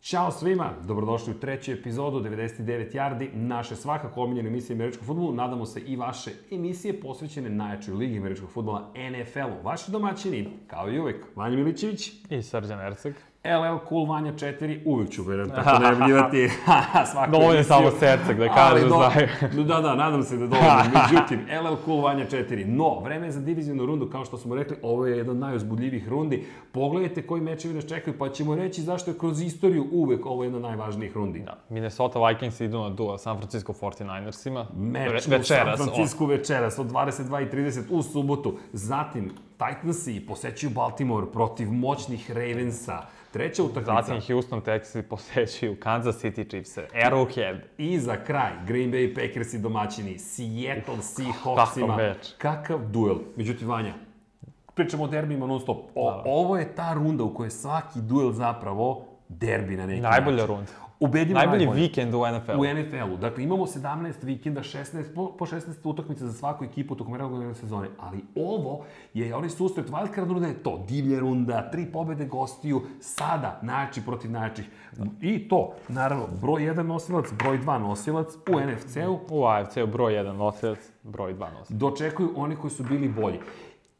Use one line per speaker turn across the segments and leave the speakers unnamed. Ćao svima, dobrodošli u treću epizodu 99 Jardi, naše svakako omiljene emisije američkog futbolu. Nadamo se i vaše emisije posvećene najjačoj ligi američkog futbola NFL-u. Vaši domaćini, kao i uvek, Vanja Milićević,
I Srđan Erceg.
LL Cool Vanja 4, uvek ću verujem tako najavljivati svaku
Dovoljno je samo Erceg da kažeš
do-
da
da, da, nadam se da dovoljno. Međutim, LL Cool Vanja 4. No, vreme je za divizijnu rundu, kao što smo rekli, ovo je jedna od najuzbudljivih rundi. Pogledajte koji mečevi nas čekaju, pa ćemo reći zašto je kroz istoriju uvek ovo jedna od najvažnijih rundi. Da.
Minnesota Vikings idu na duel San Francisco 49ersima.
Meč
Ve-
u San
večeras,
Francisco večeras od 22.30 u subotu. Zatim, Titansi posećuju Baltimore protiv moćnih Ravensa. Treća
o.
utakmica.
Zatim Houston Texas posećuju Kansas City Chiefs, Arrowhead.
I za kraj, Green Bay Packers i domaćini, Seattle Seahawksima.
kakav meč.
Kakav duel. Međutim, Vanja, pričamo o derbima non stop. O, Ovo je ta runda u kojoj je svaki duel zapravo derbi na neki
Najbolja
način.
runda.
Ubedljivo
Najbolji
najbolje.
vikend u NFL.
U NFL-u. Dakle, imamo 17 vikenda, 16, po, po 16 utakmica za svaku ekipu tokom regularne sezone. Ali ovo je onaj susret wildcard runda je to. Divlja runda, tri pobede gostiju, sada najjači protiv najjačih. I to, naravno, broj 1 nosilac, broj 2 nosilac u NFC-u
U AFC-u broj 1 nosilac, broj 2 nosilac.
dočekuju oni koji su bili bolji.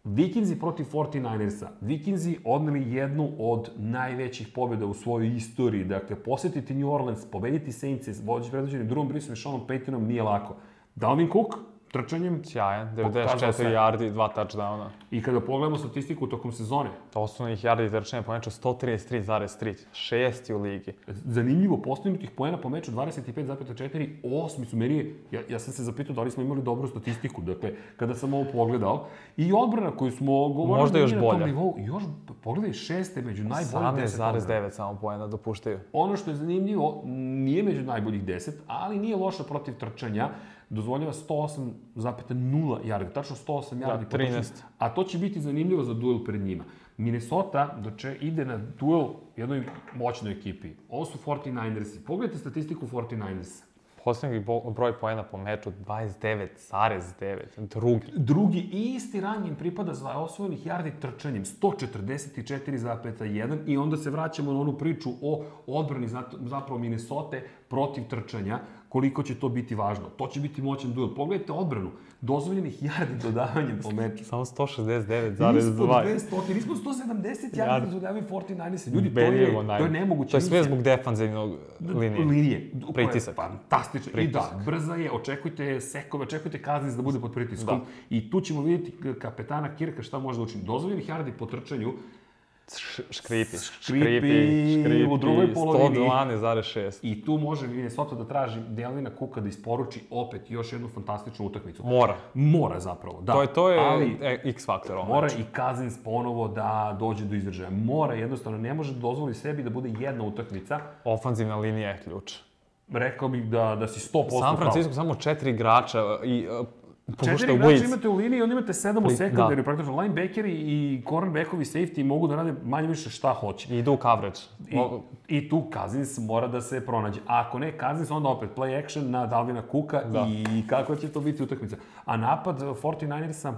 Vikinzi protiv 49ersa. Vikinzi odneli jednu od najvećih pobjeda u svojoj istoriji. Dakle, posetiti New Orleans, pobediti Saints, vođe predvođeni Drugom Brisom i Seanom Paytonom nije lako. Dalvin Cook, trčanjem,
Sjajan,
Pokazao se.
94 yardi, 2 touchdowna.
i kada pogledamo statistiku tokom sezone,
Osnovnih yardi trčanja po meču 133,3, šesti u ligi.
zanimljivo, postignutih poena po meču 25,4, osmi su meni, je- ja, ja sam se zapitao da li smo imali dobru statistiku, dakle, kada sam ovo pogledao, i odbrana koju smo govorili
Možda
da
još
nije na tom
bolja.
nivou, još, pogledaj, šeste među najboljih deset odbrana.
18,9 samo poena dopuštaju.
Ono što je zanimljivo, nije među najboljih 10, ali nije loša protiv trčanja. Dozvoljava 108,0 jardi, tačno 108 jardi. po
13.
trčanju, A to će biti zanimljivo za duel pred njima. Minnesota doče, ide na duel jednoj moćnoj ekipi. Ovo su 49ersi. Pogledajte statistiku 49ersa.
Poslednji bo- broj poena po meču 29,9, drugi.
Drugi i isti rang im pripada za osvojenih jardi trčanjem, 144,1 i onda se vraćamo na onu priču o odbrani zato- zapravo Minnesota protiv trčanja, koliko će to biti važno. To će biti moćan duel. Pogledajte odbranu, dozvoljenih jardi dodavanjem po meču.
Samo
Ispod
169,2.
200, ispod 170 jardi
Jardi.
dodavaju 49 Ljudi, to je,
Ubedljivo
to je
najbolje.
nemoguće.
To je sve
misija
zbog defanzivnog linije.
linije. koja je
Pritisak.
Fantastično.
Pritisak.
I da, brza je, očekujte sekove, očekujte kaznic da bude pod pritiskom. I tu ćemo vidjeti kapetana Kirka šta može da učini. Dozvoljenih yardi po trčanju,
Š- Škripi,
Škripi,
škripi, škripi.
u drugoj polovini.
112,6.
i tu može Minnesota da traži Delvina Kuka da isporuči opet još jednu fantastičnu utakmicu.
Mora.
Mora zapravo, da.
To je, to je
Ali,
e, znači- X faktor ovom
Mora
mora...
i Kazins ponovo da dođe do izražaja. Mora jednostavno, ne može da dozvoli sebi da bude jedna utakmica.
Ofanzivna linija je ključ.
Rekao bih da, da si 100%
San
pravo.
Francisco samo četiri igrača i uh,
Četiri
puštaju
igrača
blitz.
imate u liniji, onda imate sedam u
Pri-
sekundaru,
da.
praktično linebackeri i cornerbackovi safety mogu da rade manje više šta hoće.
I idu u coverage.
I, I tu Kazins mora da se pronađe. A ako ne Kazins, onda opet play action na Dalvina Kuka
Da.
i kako će to biti utakmica. A napad 49ersa,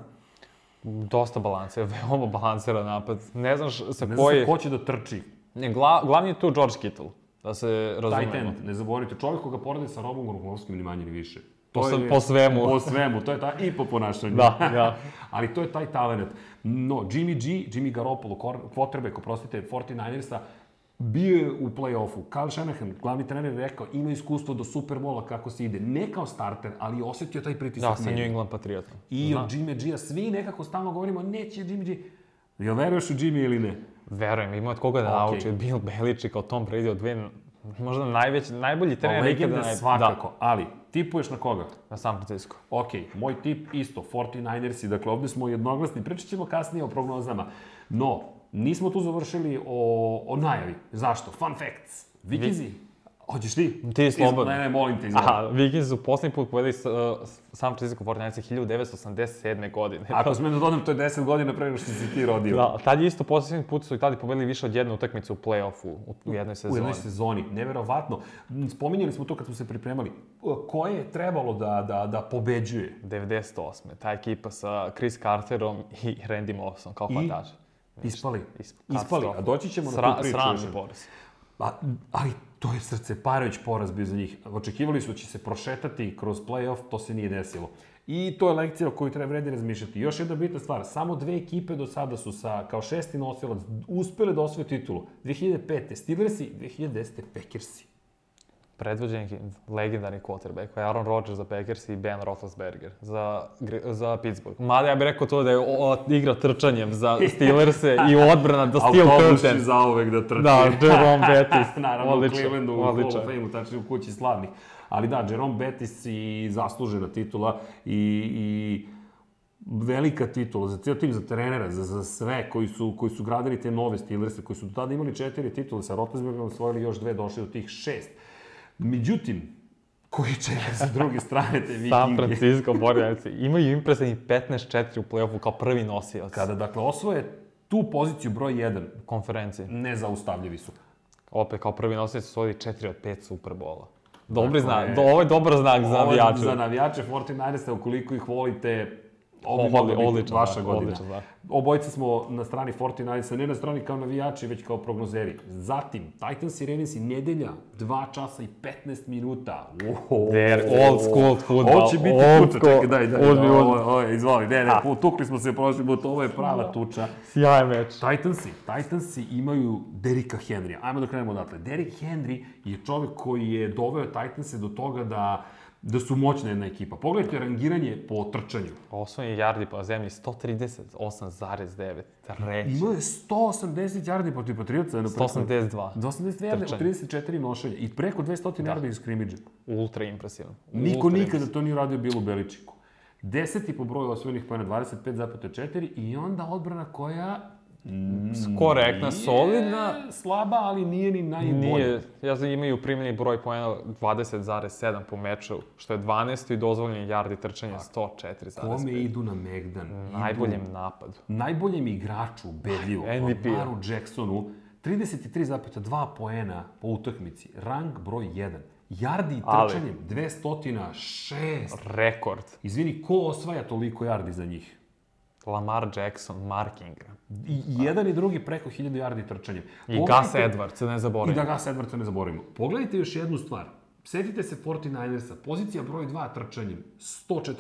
Dosta balansa, veoma balansira napad. Ne znaš sa
ne znam
koji...
se ko će da trči.
Ne, gla, glavni je tu George Kittle, da se razumemo.
Tight end, ne zaboravite, čovjek koga poredi sa Robom Gronkowskim ni manje ni više.
Po sa- po svemu.
Po svemu, to je ta, i po ponašanju.
Da, da.
Ali to je taj talent. No, Jimmy G, Jimmy Garoppolo, kor- quarterback, oprostite, 49ersa, bio je u play-offu. Kyle Shanahan, glavni trener, je rekao, ima iskustvo do Superbola kako se ide. Ne kao starter, ali je osetio taj pritisak.
Da, sa Da.
medija.
New England Patriotom.
I od Jimmy G-a svi nekako stalno govorimo, neće Jimmy G. Jel veruješ u Jimmy ili ne?
Verujem, ima od koga da
Okej.
nauči. Bill Belichick, kao Tom Brady, od dve, možda najveći, najbolji trener
Legende
ikada. naj-
Pa svakako, ali tipuješ na koga?
Da, na San Francisco.
Ok, moj tip isto, 49ersi, dakle ovde smo jednoglasni, pričat ćemo kasnije o prognozama. No, nismo tu završili o, o najavi. Zašto? Fun facts. Vikizi, hoćeš ti?
Ti slobodno.
Iz, ne, ne, molim te, izvoli.
Aha, Vikings su poslednji put pobedili s, uh, San Francisco 49 1987. godine.
Ako smem da dodam, to je 10 godina pre nego što si ti rodio.
Da, tad je isto poslednji put su i tada pobedili više od jedne utakmice u play-offu u, u jednoj
U
sezoni.
jednoj sezoni, neverovatno. M, Spominjali smo to kad smo se pripremali. Koje je trebalo da, da, da pobeđuje?
98. Ta ekipa sa Chris Carterom i Randy Mossom kao hvatači.
Ispali.
Isp-
Ispali, a
katastrofa.
doći ćemo na tu
Sra-
priču.
Sramni
još.
poraz.
A, ali to je srce parajuć poraz bio za njih. Očekivali su da će se prošetati kroz play-off, to se nije desilo. I to je lekcija o kojoj treba vredi razmišljati. Još jedna bitna stvar, samo dve ekipe do sada su sa, kao šesti nosilac uspele da osvoje titulu. 2005. Steelersi, 2010. Packersi.
Predvođen je legendarni quarterback, koji je Aaron Rodgers za Packers i Ben Roethlisberger za, Gri- za Pittsburgh. Mada ja bih rekao to da je o, o- igra trčanjem za Steelers-e i odbrana da Steel
Autobus će
Curtain.
zauvek da trči.
Da, Jerome Bettis.
Naravno,
odličan,
u Clevelandu, u Hall
odličan.
of Fame-u, tačnije u kući slavnih. Ali da, Jerome Bettis i zaslužena titula i, i velika titula za ceo tim, za trenera, za, za sve koji su, koji su gradili te nove Steelerse, koji su do tada imali četiri titule, sa Roethlisbergerom osvojili još dve, došli do tih šest. Međutim, koji čeka sa druge strane te
San
vikinge?
Francisco 49 imaju impresivnih 15-4 u play-offu kao prvi nosioc
Kada, dakle, osvoje tu poziciju broj 1,
konferencije.
nezaustavljivi su.
Opet kao prvi nosioc su osvojili 4 od 5 Superbola. Dobri
je-
znak, do, ovo je dobar znak za
Ovo je
navijače.
Za navijače 49ersa, ukoliko ih volite, ovo bi
Ovo je
mogla biti
odličan
vaša
znak,
godina.
odličan znak.
Obojica smo na strani 49ersa, ne na strani kao navijači, već kao prognozeri. Zatim, Titans i Ravens i nedelja, 2 časa i 15 minuta. Wow.
They're old school football.
Ovo će biti
Old
tuča,
school.
čekaj, daj, daj,
Uzmi,
daj,
Ah. uzmi.
ovo, ovo, je, izvoli, ne, ne, tukli smo se prošli put, ovo je prava tuča.
Sjajan meč.
Titansi, Titansi imaju Derika Henrya. Ajmo da krenemo odatle. Derrick Henry je čovek koji je doveo Titanse do toga da da su moćna jedna ekipa. Pogledajte rangiranje po trčanju.
Osnovni jardi po zemlji 138,9. Treći.
Imao je 180 yardi protiv Patriotsa. jedno preko-
182.
180 yardi u
Trčanje.
34 nošenja i preko 200 yardi iz skrimidža.
Ultra impresivno.
Niko
Da. Ultra
nikada to nije uradio bilo u Beličiku. Deseti po broju osvojenih pojena, 25,4 i onda odbrana koja
impresivno. Korektna, solidna.
je slaba, ali nije ni najbolja.
Nije, ja znam, imaju primljeni broj poena 20,7 po meču, što je 12. i dozvoljeni yardi trčanja
Kome
104,5.
idu na Megdan? Idu
Pa E, Najboljem napadu.
najboljem igraču ubedljivo,
MVP.
Maru Jacksonu, 33,2 poena po utakmici, rang broj 1. Jardi i
Ali-
trčanjem 206.
Rekord.
Izvini, ko osvaja toliko jardi za njih?
Lamar Jackson, Mark Ingram.
I i jedan i drugi preko 1000 jardi trčanjem.
I
Pogledajte-
Gus Edwards, ne
I da
zaboravim.
Gus Edwardsa ne zaboravimo. Pogledajte još jednu stvar. Setite se 49ersa, pozicija broj 2 trčanjem,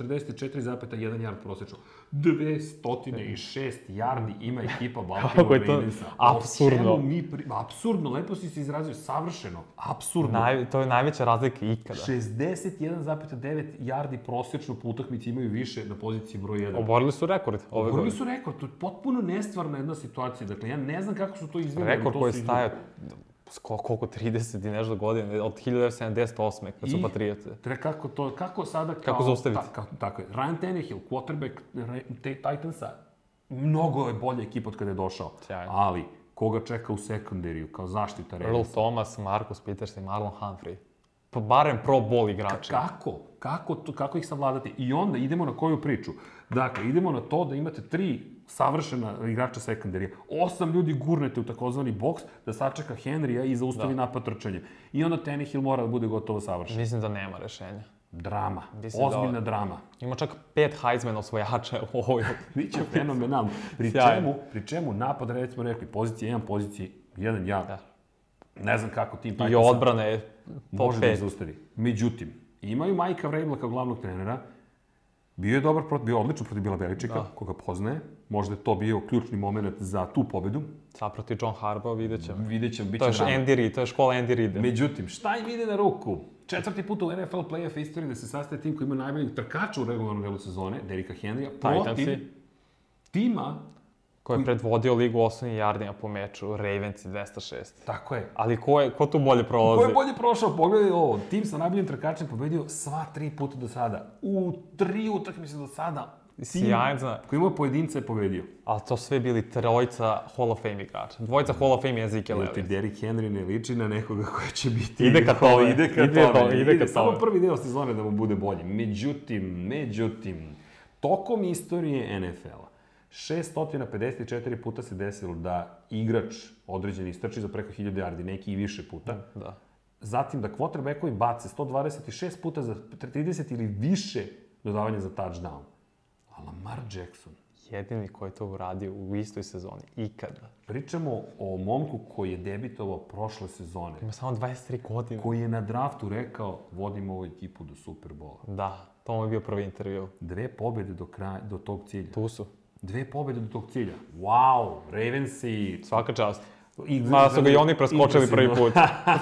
144,1 yard prosečno. 206 yardi ima ekipa
Kako
Baltimore
je to
Ravensa.
apsurdno.
O čemu Mi pri... Apsurdno, lepo si se izrazio, savršeno, apsurdno.
Naj, to je najveća razlika ikada.
61,9 yardi prosečno po utakmici imaju više na poziciji broj 1.
Oborili su rekord ove
Oborili
godine.
su rekord, to je potpuno nestvarna jedna situacija. Dakle, ja ne znam kako su to izveli. ali
Rekord
to
koji
su
je
izveli.
stajao s ko- koliko 30 i nešto godine, od 1978. kad su
I-
Patriote.
Tre, kako to, kako sada kao...
Kako zaustaviti?
Ta, kako, tako je. Ryan Tannehill, quarterback Re- te, Titansa, mnogo je bolja ekipa od kada je došao.
Sjajno.
Ali, koga čeka u sekunderiju, kao zaštita
Earl
Ravens?
Thomas, Marcus Peters i Marlon Humphrey. Pa barem pro bol igrači.
Kako? Kako, to, kako ih savladati? I onda idemo na koju priču? Dakle, idemo na to da imate tri savršena igrača sekundarija. Osam ljudi gurnete u takozvani boks da sačeka Henrya i zaustavi
Da.
napad trčanje. I onda Tannehill mora da bude gotovo savršen.
Mislim da nema rešenja.
Drama.
Mislim da-
Ozbiljna drama.
Ima čak pet Heisman osvojača u ovoj.
Biće fenomenalno. Pri
Sjajno.
čemu, pri čemu napad, recimo, rekli pozicija 1, pozicija 1, ja.
Da.
Ne znam kako tim
I
Titansa
odbrana je top
može da ih
5.
zaustavi. Međutim, imaju Majka Vrabela kao glavnog trenera, Bio je dobar, prot- bio je odličan protiv Bila Beličika,
Da.
koga poznaje. Možda je to bio ključni moment za tu pobedu.
Zaproti John Harbaugh, vidjet ćemo.
Vidjet ćemo, bit
To
će
je
drama.
Andy Reid, to je škola Andy Reida.
Međutim, šta im ide na ruku? Četvrti put u NFL playoff istoriji da se sastaje tim koji ima najboljeg trkača u regularnom delu sezone, Derika Henrya, protiv
Titansi,
tima,
koji je predvodio ligu u osnovnim jardima po meču, Ravensi 206.
tako je,
Ali ko, je, ko tu bolje
Ko je
prolazi?
bolje prošao? Pogledaj ovo. Tim sa najboljim trkačem pobedio sva tri puta do sada. U tri utakmice do sada.
Sjajan znak.
Koji ima pojedinca je pobedio.
Ali to sve bili trojica Hall of Fame igrača. Dvojica Hall of Fame
Ti
jezike levi.
Derrick Henry ne liči na nekoga koja će biti... ovaj,
Ide ka tome.
Ide ka
Ide
tome.
do- ide ka
Samo
tome.
prvi deo sezone da mu bude bolji. Međutim, međutim, tokom istorije NFL-a, 654 puta se desilo da igrač određeni istrači za preko 1000 yardi, neki i više puta.
Da.
Zatim da quarterbackovi bace 126 puta za 30 ili više dodavanja za touchdown. A Lamar Jackson
jedini koji je to uradio u istoj sezoni, ikada.
Pričamo o momku koji je debitovao prošle sezone,
Ima samo 23 godine.
koji je na draftu rekao vodimo ovu ekipu do Superbola.
Da, to mu je bio prvi intervju.
Dve pobjede do, kraja, do tog cilja.
Tu su.
Dve pobjede do tog cilja. Wow, Ravensi...
Svaka čast.
I,
Mada su ga i oni preskočili prvi
Impresivno.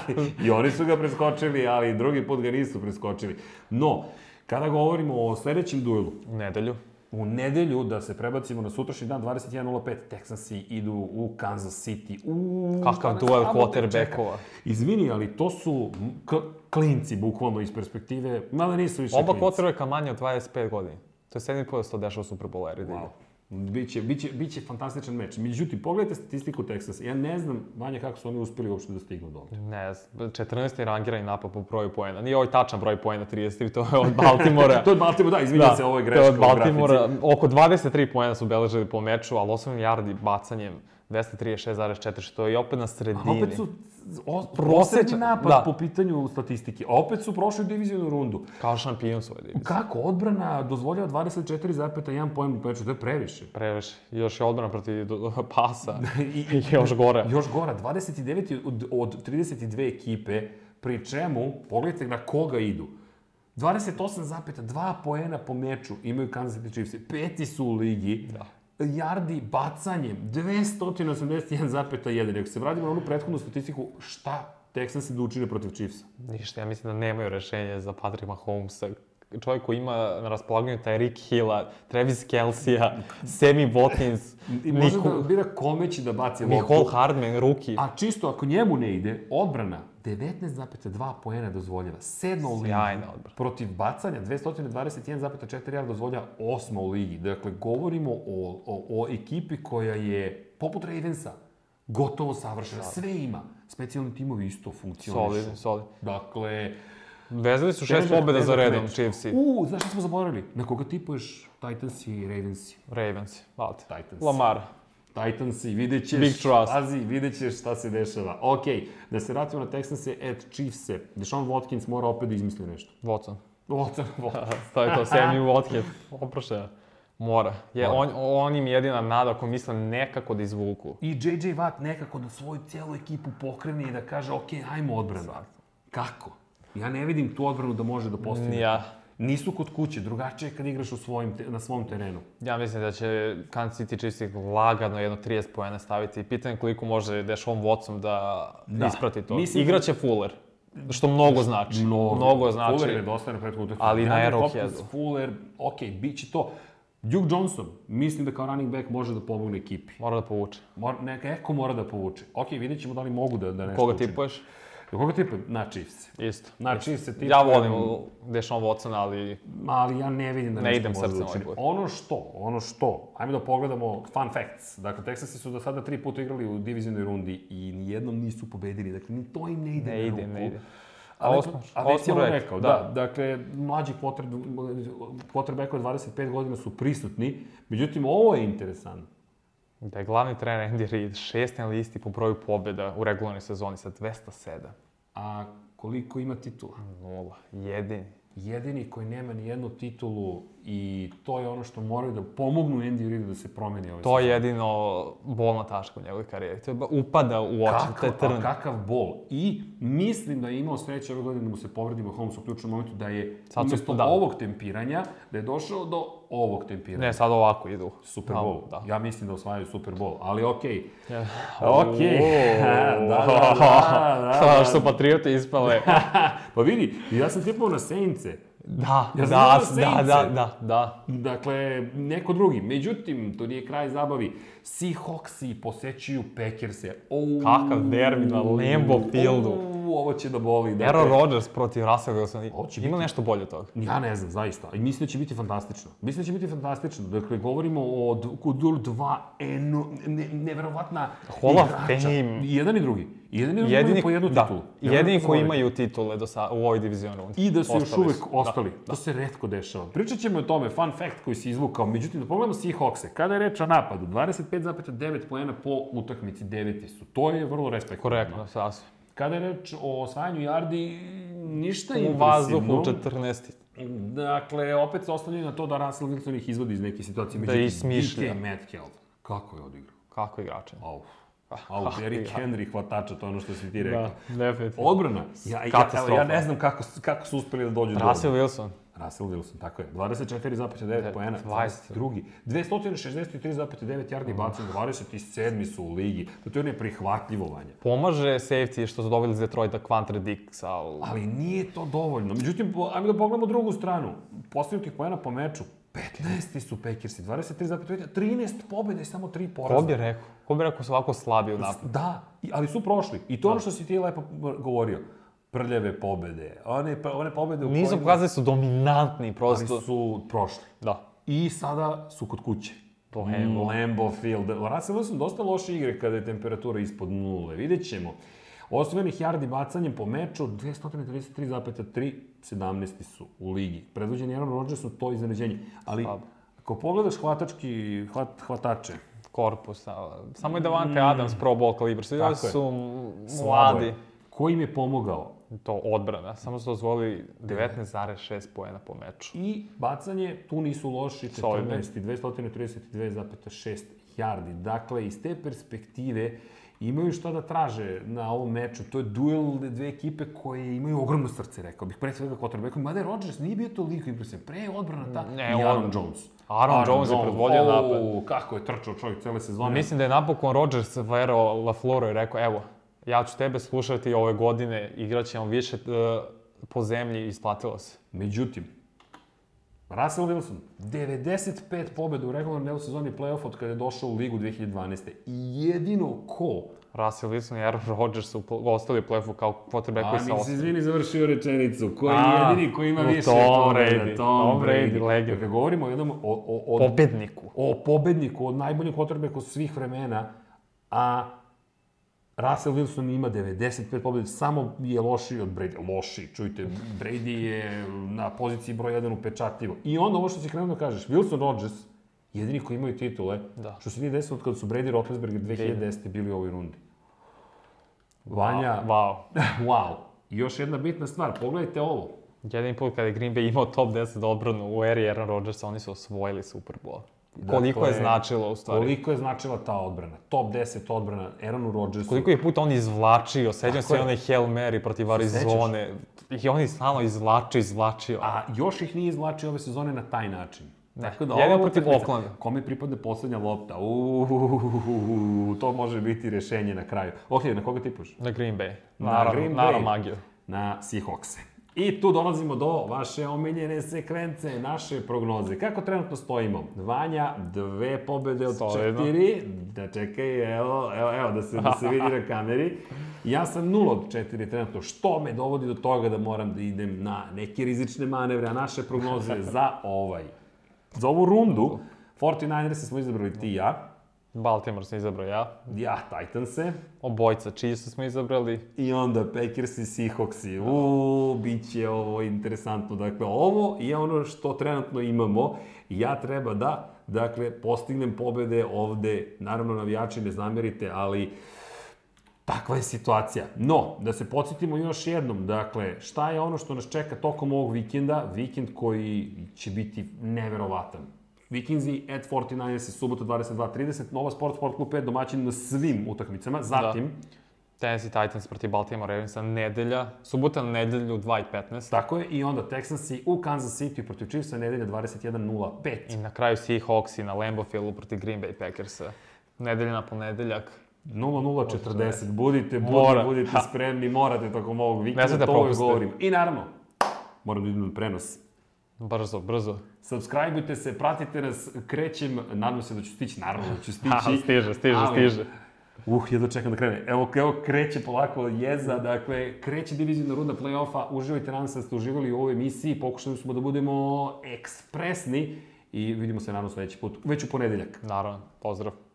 put.
I oni su ga preskočili, ali drugi put ga nisu preskočili. No, kada govorimo o sledećem duelu,
U nedelju.
u nedelju, da se prebacimo na sutrašnji dan, 21.05, Texansi idu u Kansas City. U,
Kakav duel
da
quarterbackova.
Izvini, ali to su k- klinci, bukvalno, iz perspektive, mada nisu više
Oba
klinci.
quarterbacka manje od 25 godina. To je sedmi put da se to dešava u Super Bowl eri.
Wow. Biće, biće, biće fantastičan meč. Međutim, pogledajte statistiku Texasa. Ja ne znam, Vanja, kako su oni uspeli uopšte da stignu do ovde.
Ne znam, 14. rangirani napad po broju poena. Nije ovaj tačan broj poena 33, to je od Baltimora.
To je Baltimore, da, izvinjam se, ovo je greška
to je od
u
Baltimora.
grafici.
Oko 23 poena su beležili po meču, ali 8 yardi bacanjem 236,4, što je opet na sredini.
Ali opet su o-
Prosečan,
poslednji napad
da.
po pitanju statistike. A Opet su prošli divizijnu rundu.
Kao šampion svoje divizije.
Kako odbrana dozvoljava 24,1 poen u meču? To je previše.
Previše. Još je odbrana protiv do- do- pasa.
I,
I još gore.
Još gora, 29 od, od 32 ekipe, pri čemu, pogledajte na koga idu. 28,2 poena po meču imaju Kansas City Chiefs. Peti su u ligi. Da. Jardi bacanjem 281,1. Ako se vratimo na onu prethodnu statistiku, šta Texans idu učine protiv Chiefsa?
Ništa, ja mislim da nemaju rešenje za Patrick Mahomesa. Čovjek koji ima na raspolaganju taj Rick Hilla, Travis Kelsija, Sammy Watkins,
I može
Niko-
da bira kome će da baci loptu.
Nicole Hardman, ruki.
A čisto ako njemu ne ide, odbrana 19,2 poena dozvoljava. Sedmo u ligi.
Sjajna odbrana.
Protiv bacanja 221,4 jarda dozvolja osma u ligi. Dakle, govorimo o, o, o ekipi koja je, poput Ravensa, gotovo savršena. Sve ima. Specijalni timovi isto funkcionišu.
Solid, solid.
Dakle,
Vezali su šest
težak-
pobjeda za
težak
redom
meč.
Chiefs i
U, znaš šta smo zaboravili? Na koga tipuješ Titansi i Ravensi?
Ravens. Valte.
Titans.
Lamar.
Titansi, vidjet ćeš,
Big trust.
pazi, vidjet ćeš šta se dešava. Ok, da se vratimo na Texanse at Chiefse. Deshaun Watkins mora opet da izmisli nešto.
Watson.
Watson, Watson.
to je to, Sammy Watkins. Oprošaja. Mora. Je,
Mora.
on, on im jedina nada ako misle nekako da izvuku.
I JJ Watt nekako da svoju cijelu ekipu pokrene i da kaže, ok, hajmo odbranu. Kako? Ja ne vidim tu odbranu da može da postigne.
Ja,
Nisu kod kuće, drugačije je kad igraš u svojim te, na svom terenu.
ja mislim da će Kansas City Chiefs ih lagano jedno 30 poena staviti i pitanje koliko može Deshaun Watson da,
Da.
isprati to.
Mislim-
Igraće Fuller, što mnogo znači. mnogo znači.
Fuller je dosta na prethodnu utakmicu.
Ali na
DeAndre
Arrowheadu.
Hopkins, Fuller, ok, bit će to. Duke Johnson, mislim da kao running back može da pomogne ekipi.
Mora da povuče.
Mor, neka, neko mora da povuče. Ok, vidjet ćemo da li mogu da, da nešto
Koga
učine.
tipuješ?
Koga tipujem? Na Chiefs.
Isto.
Na Chiefs se tipujem.
Ja volim Deshaun Watson, ali
Ali ja ne vidim da
Ne
nešto
idem
može da
srcem
učini.
ovaj put.
Ono što, ono što, ajmo da pogledamo fun facts. Dakle, Texasi su do sada tri puta igrali u divizionoj rundi i nijednom nisu pobedili. Dakle, ni to im ne ide
ne
na
ide,
ruku.
ne ide.
A već,
Osmo-
a već je
osmo
on
rekao,
rekao,
da.
da. Dakle, mlađi quarterback od 25 godina su prisutni. Međutim, ovo je interesantno.
Da je glavni trener Andy Reid šest na listi po broju pobjeda u regularnoj sezoni sa 207.
A koliko ima titula?
Nula. Jedini.
jedini koji nema ni jednu titulu i to je ono što moraju da pomognu Andy Reidu da se promeni ovaj
To je jedino bolna tačka u njegovoj karijeri. To je ba- upada u oči, taj
Kakav, a
trn.
kakav bol. I mislim da je imao sreće ove godine da mu se povredi Mahomes u ključnom momentu, da je
Sad su-
umesto
da.
ovog tempiranja, da je došao do ovog tempiranja.
Ne, sad ovako idu.
Super
Da,
Bowl.
Da.
Ja mislim da osvajaju Super Bowl, ali okej.
Ja.
Okej.
Uuu.
Da, da, da, da,
Sad
da.
što patriote ispale.
pa vidi, ja sam tipao na Saintse.
Da,
Ja znam da
da, da,
Saints-e.
da, da, da.
Dakle, neko drugi. Međutim, to nije kraj zabavi. Seahawksi posećuju Packerse. Ou,
Kakav derbi na Lambeau Fieldu.
Ou, ovo će da boli. Dakle,
Aaron Rodgers protiv Russell Wilson.
Ovo će
Ima
biti-
nešto bolje od toga.
Ja ne znam, zaista. I mislim da će biti fantastično. Mislim da će biti fantastično. Dakle, govorimo o d- Kudul 2, eno, ne, neverovatna
Hall of
igrača.
Fame.
I jedan i drugi. I jedan i drugi imaju
Jedini,
po jednu
da,
titulu. Ja
jedini
moram
koji
da
imaju titule do sa, u ovoj divizion rundi.
I da su još
Ostali
uvek
su, da.
ostali. To se redko dešava. Pričat ćemo o tome, fun fact koji si izvukao. Međutim, da pogledamo Seahawkse. Kada je reč o napadu, 25,9 poena po utakmici, deveti su. To je vrlo respektivno.
Da, Korektno, sasvim.
Kada je reč o osvajanju yardi, ništa
U
impresivno.
vazduhu 14.
Dakle, opet se oslanjaju na to da Russell Wilson ih izvodi iz neke situacije.
Da ih smišlja.
DK Metcalf, kako je odigrao?
Kako igrače.
Auf. Auf, Eric Henry hvatača, to je ono što si ti rekao.
Pa, Da, definitivno.
Odbrana. Ja, ja, evo, ja
Katastrofa.
ne znam kako, su- kako su uspeli da dođu do
Russell Wilson.
Russell Wilson, tako je. 24,9 poena,
20.
drugi. 263,9 yardi bacanje, 27. su u ligi. Pa to je neprihvatljivo vanja.
Pomaže safety što su dobili iz Detroita Quantre Dicksa. u-
Ali nije to dovoljno. Međutim, po- ajmo da pogledamo drugu stranu. Postignutih poena po meču, 15. su Packersi, 23,5, 13 pobjede i samo 3
Ko
poraza.
bi rekao? Ko bi rekao su ovako slabi u napadu?
Da, i- ali su prošli. I to je ono što si ti lepo govorio. Prljave pobjede, one, one pobjede u
Nisu
kojima
pokazali su dominantni prosto.
su prošli.
Da.
I sada su kod kuće.
To je ovo.
Lambeau Field. Russell Wilson dosta loše igre kada je temperatura ispod nule. Vidjet ćemo. Osvojenih yardi bacanjem po meču 233,3, 17. su u ligi. Predvođeni Aaron Rodgersom, to je iznenađenje. Ali, ako pogledaš hvatački, hvat, hvatače,
Korpus. a, Samo je Davante Adams pro ball kalibar. Svi ovi
Mm. Tako je.
su
slabo
mladi.
je. Ko im je pomogao?
To odbrana. Samo su dozvolili 19,6 poena po meču.
I bacanje, tu nisu loši,
Solidno.
14, 232,6 jardi. Dakle, iz te perspektive imaju šta da traže na ovom meču. To je duel dve ekipe koje imaju ogromno srce, rekao bih. Pre svega quarterbackom, mada je Rodgers nije bio toliko impresivan. Pre je odbrana ta
Ne,
i
on-
Aaron Jones.
Aaron Jones je predvodio
o,
napad.
Kako je trčao čovjek cele sezone.
Mislim da je napokon Rodgers verovao LaFleuru i rekao, evo, ja ću tebe slušati ove godine, igrat ćemo više e, po zemlji i isplatilo se.
Međutim, Russell Wilson, 95 pobjeda u regularnom delu sezoni play-off od kada je došao u ligu 2012. I jedino ko
Russell Wilson i Aaron Rodgers su po- ostali u play-offu kao quarterback koji
A,
sa
Pa mi se
osam.
izvini, završio rečenicu. Ko je
A,
jedini koji ima
no,
više
Tom
pobjeda?
Brady. Tom Brady, legenda.
Dakle, govorimo o jednom, o, o, o,
Pobedniku.
o pobedniku, o najboljem quarterbacku svih vremena, a Russell Wilson ima 95 pobjeda, samo je lošiji od Brady. Loši, čujte, Brady je na poziciji broj 1 upečatljivo. I onda ovo što si krenuo da kažeš, Wilson Rodgers, jedini koji imaju titule,
Da.
što se nije desilo od kada su Brady i Roethlisberger 2010. bili u ovoj rundi. Vanja,
Wow.
Wow. I još jedna bitna stvar, pogledajte ovo.
Jedini put kada je Green Bay imao top 10 odbranu u eri Aaron Rodgersa, oni su osvojili Super Bowl. koliko je
Dakle,
značilo u stvari. Koliko,
Koliko je značila ta odbrana? Top 10 odbrana Aaronu Rodgersu.
je puta on izvlačio, sećam
Tako
se
je.
one Hail Mary protiv
sećaš?
Arizone. I oni stalno izvlačio, izvlačio.
A još ih nije izvlačio ove sezone na taj način. Tako da
Jedino
ova
protiv
utakmica-
Oaklanda.
Kome pripadne poslednja lopta? Uuuu, to može biti rešenje na kraju. Ok, na koga tipuš?
Na Green Bay.
Na
Naravno,
Green
naravno
Bay.
magiju.
Na Seahawkse. I tu dolazimo do vaše omiljene sekvence, naše prognoze. Kako trenutno stojimo? Vanja, dve pobede od
Solidno.
četiri. Da čekaj, evo, evo, evo da, se, da se vidi na kameri. Ja sam 0 od 4 trenutno, što me dovodi do toga da moram da idem na neke rizične manevre, a naše prognoze za ovaj. Za ovu rundu, 49ers smo izabrali ti i ja,
Baltimore sam izabrao ja.
ja Titanse,
Obojica Chiefs smo izabrali.
I onda Packers i Seahawks. Uuu, bit će ovo interesantno. Dakle, ovo je ono što trenutno imamo. Ja treba da, dakle, postignem pobede ovde. Naravno, navijači ne zamerite, ali takva je situacija. No, da se podsjetimo još jednom, dakle, šta je ono što nas čeka tokom ovog vikenda, vikend koji će biti neverovatan. Vikinzi at 49ers subota 22.30, Nova Sport, Sport Klub 5, domaćin na svim utakmicama. Zatim,
Tennessee Titans protiv Baltimore Ravensa nedelja. Subota na nedelju 2.15.
Tako je, i onda Texansi u Kansas City protiv Chiefsa nedelja 21.05.
I na kraju Seahawks i na Lambeau Fieldu protiv Green Bay Packersa. Nedelja na ponedeljak.
00.40, budite, budite,
Mora.
budite spremni, morate tokom ovog
Ne da smete
vikenda, to uvek
propustiti.
govorim. I naravno, moram da idem na prenos.
Brzo, brzo.
Subscribeujte se, pratite nas, krećem, nadam se da ću stići, naravno da ću
Ha,
stići.
stiže, stiže,
ali-
stiže.
Uh, jedno čekam da krene. Evo, evo kreće polako jeza, dakle, kreće divizijna runda play-offa, uživajte, nadam se da ste uživali u ovoj emisiji, pokušali smo da budemo ekspresni i vidimo se naravno sledeći put, već u ponedeljak.
Naravno, pozdrav.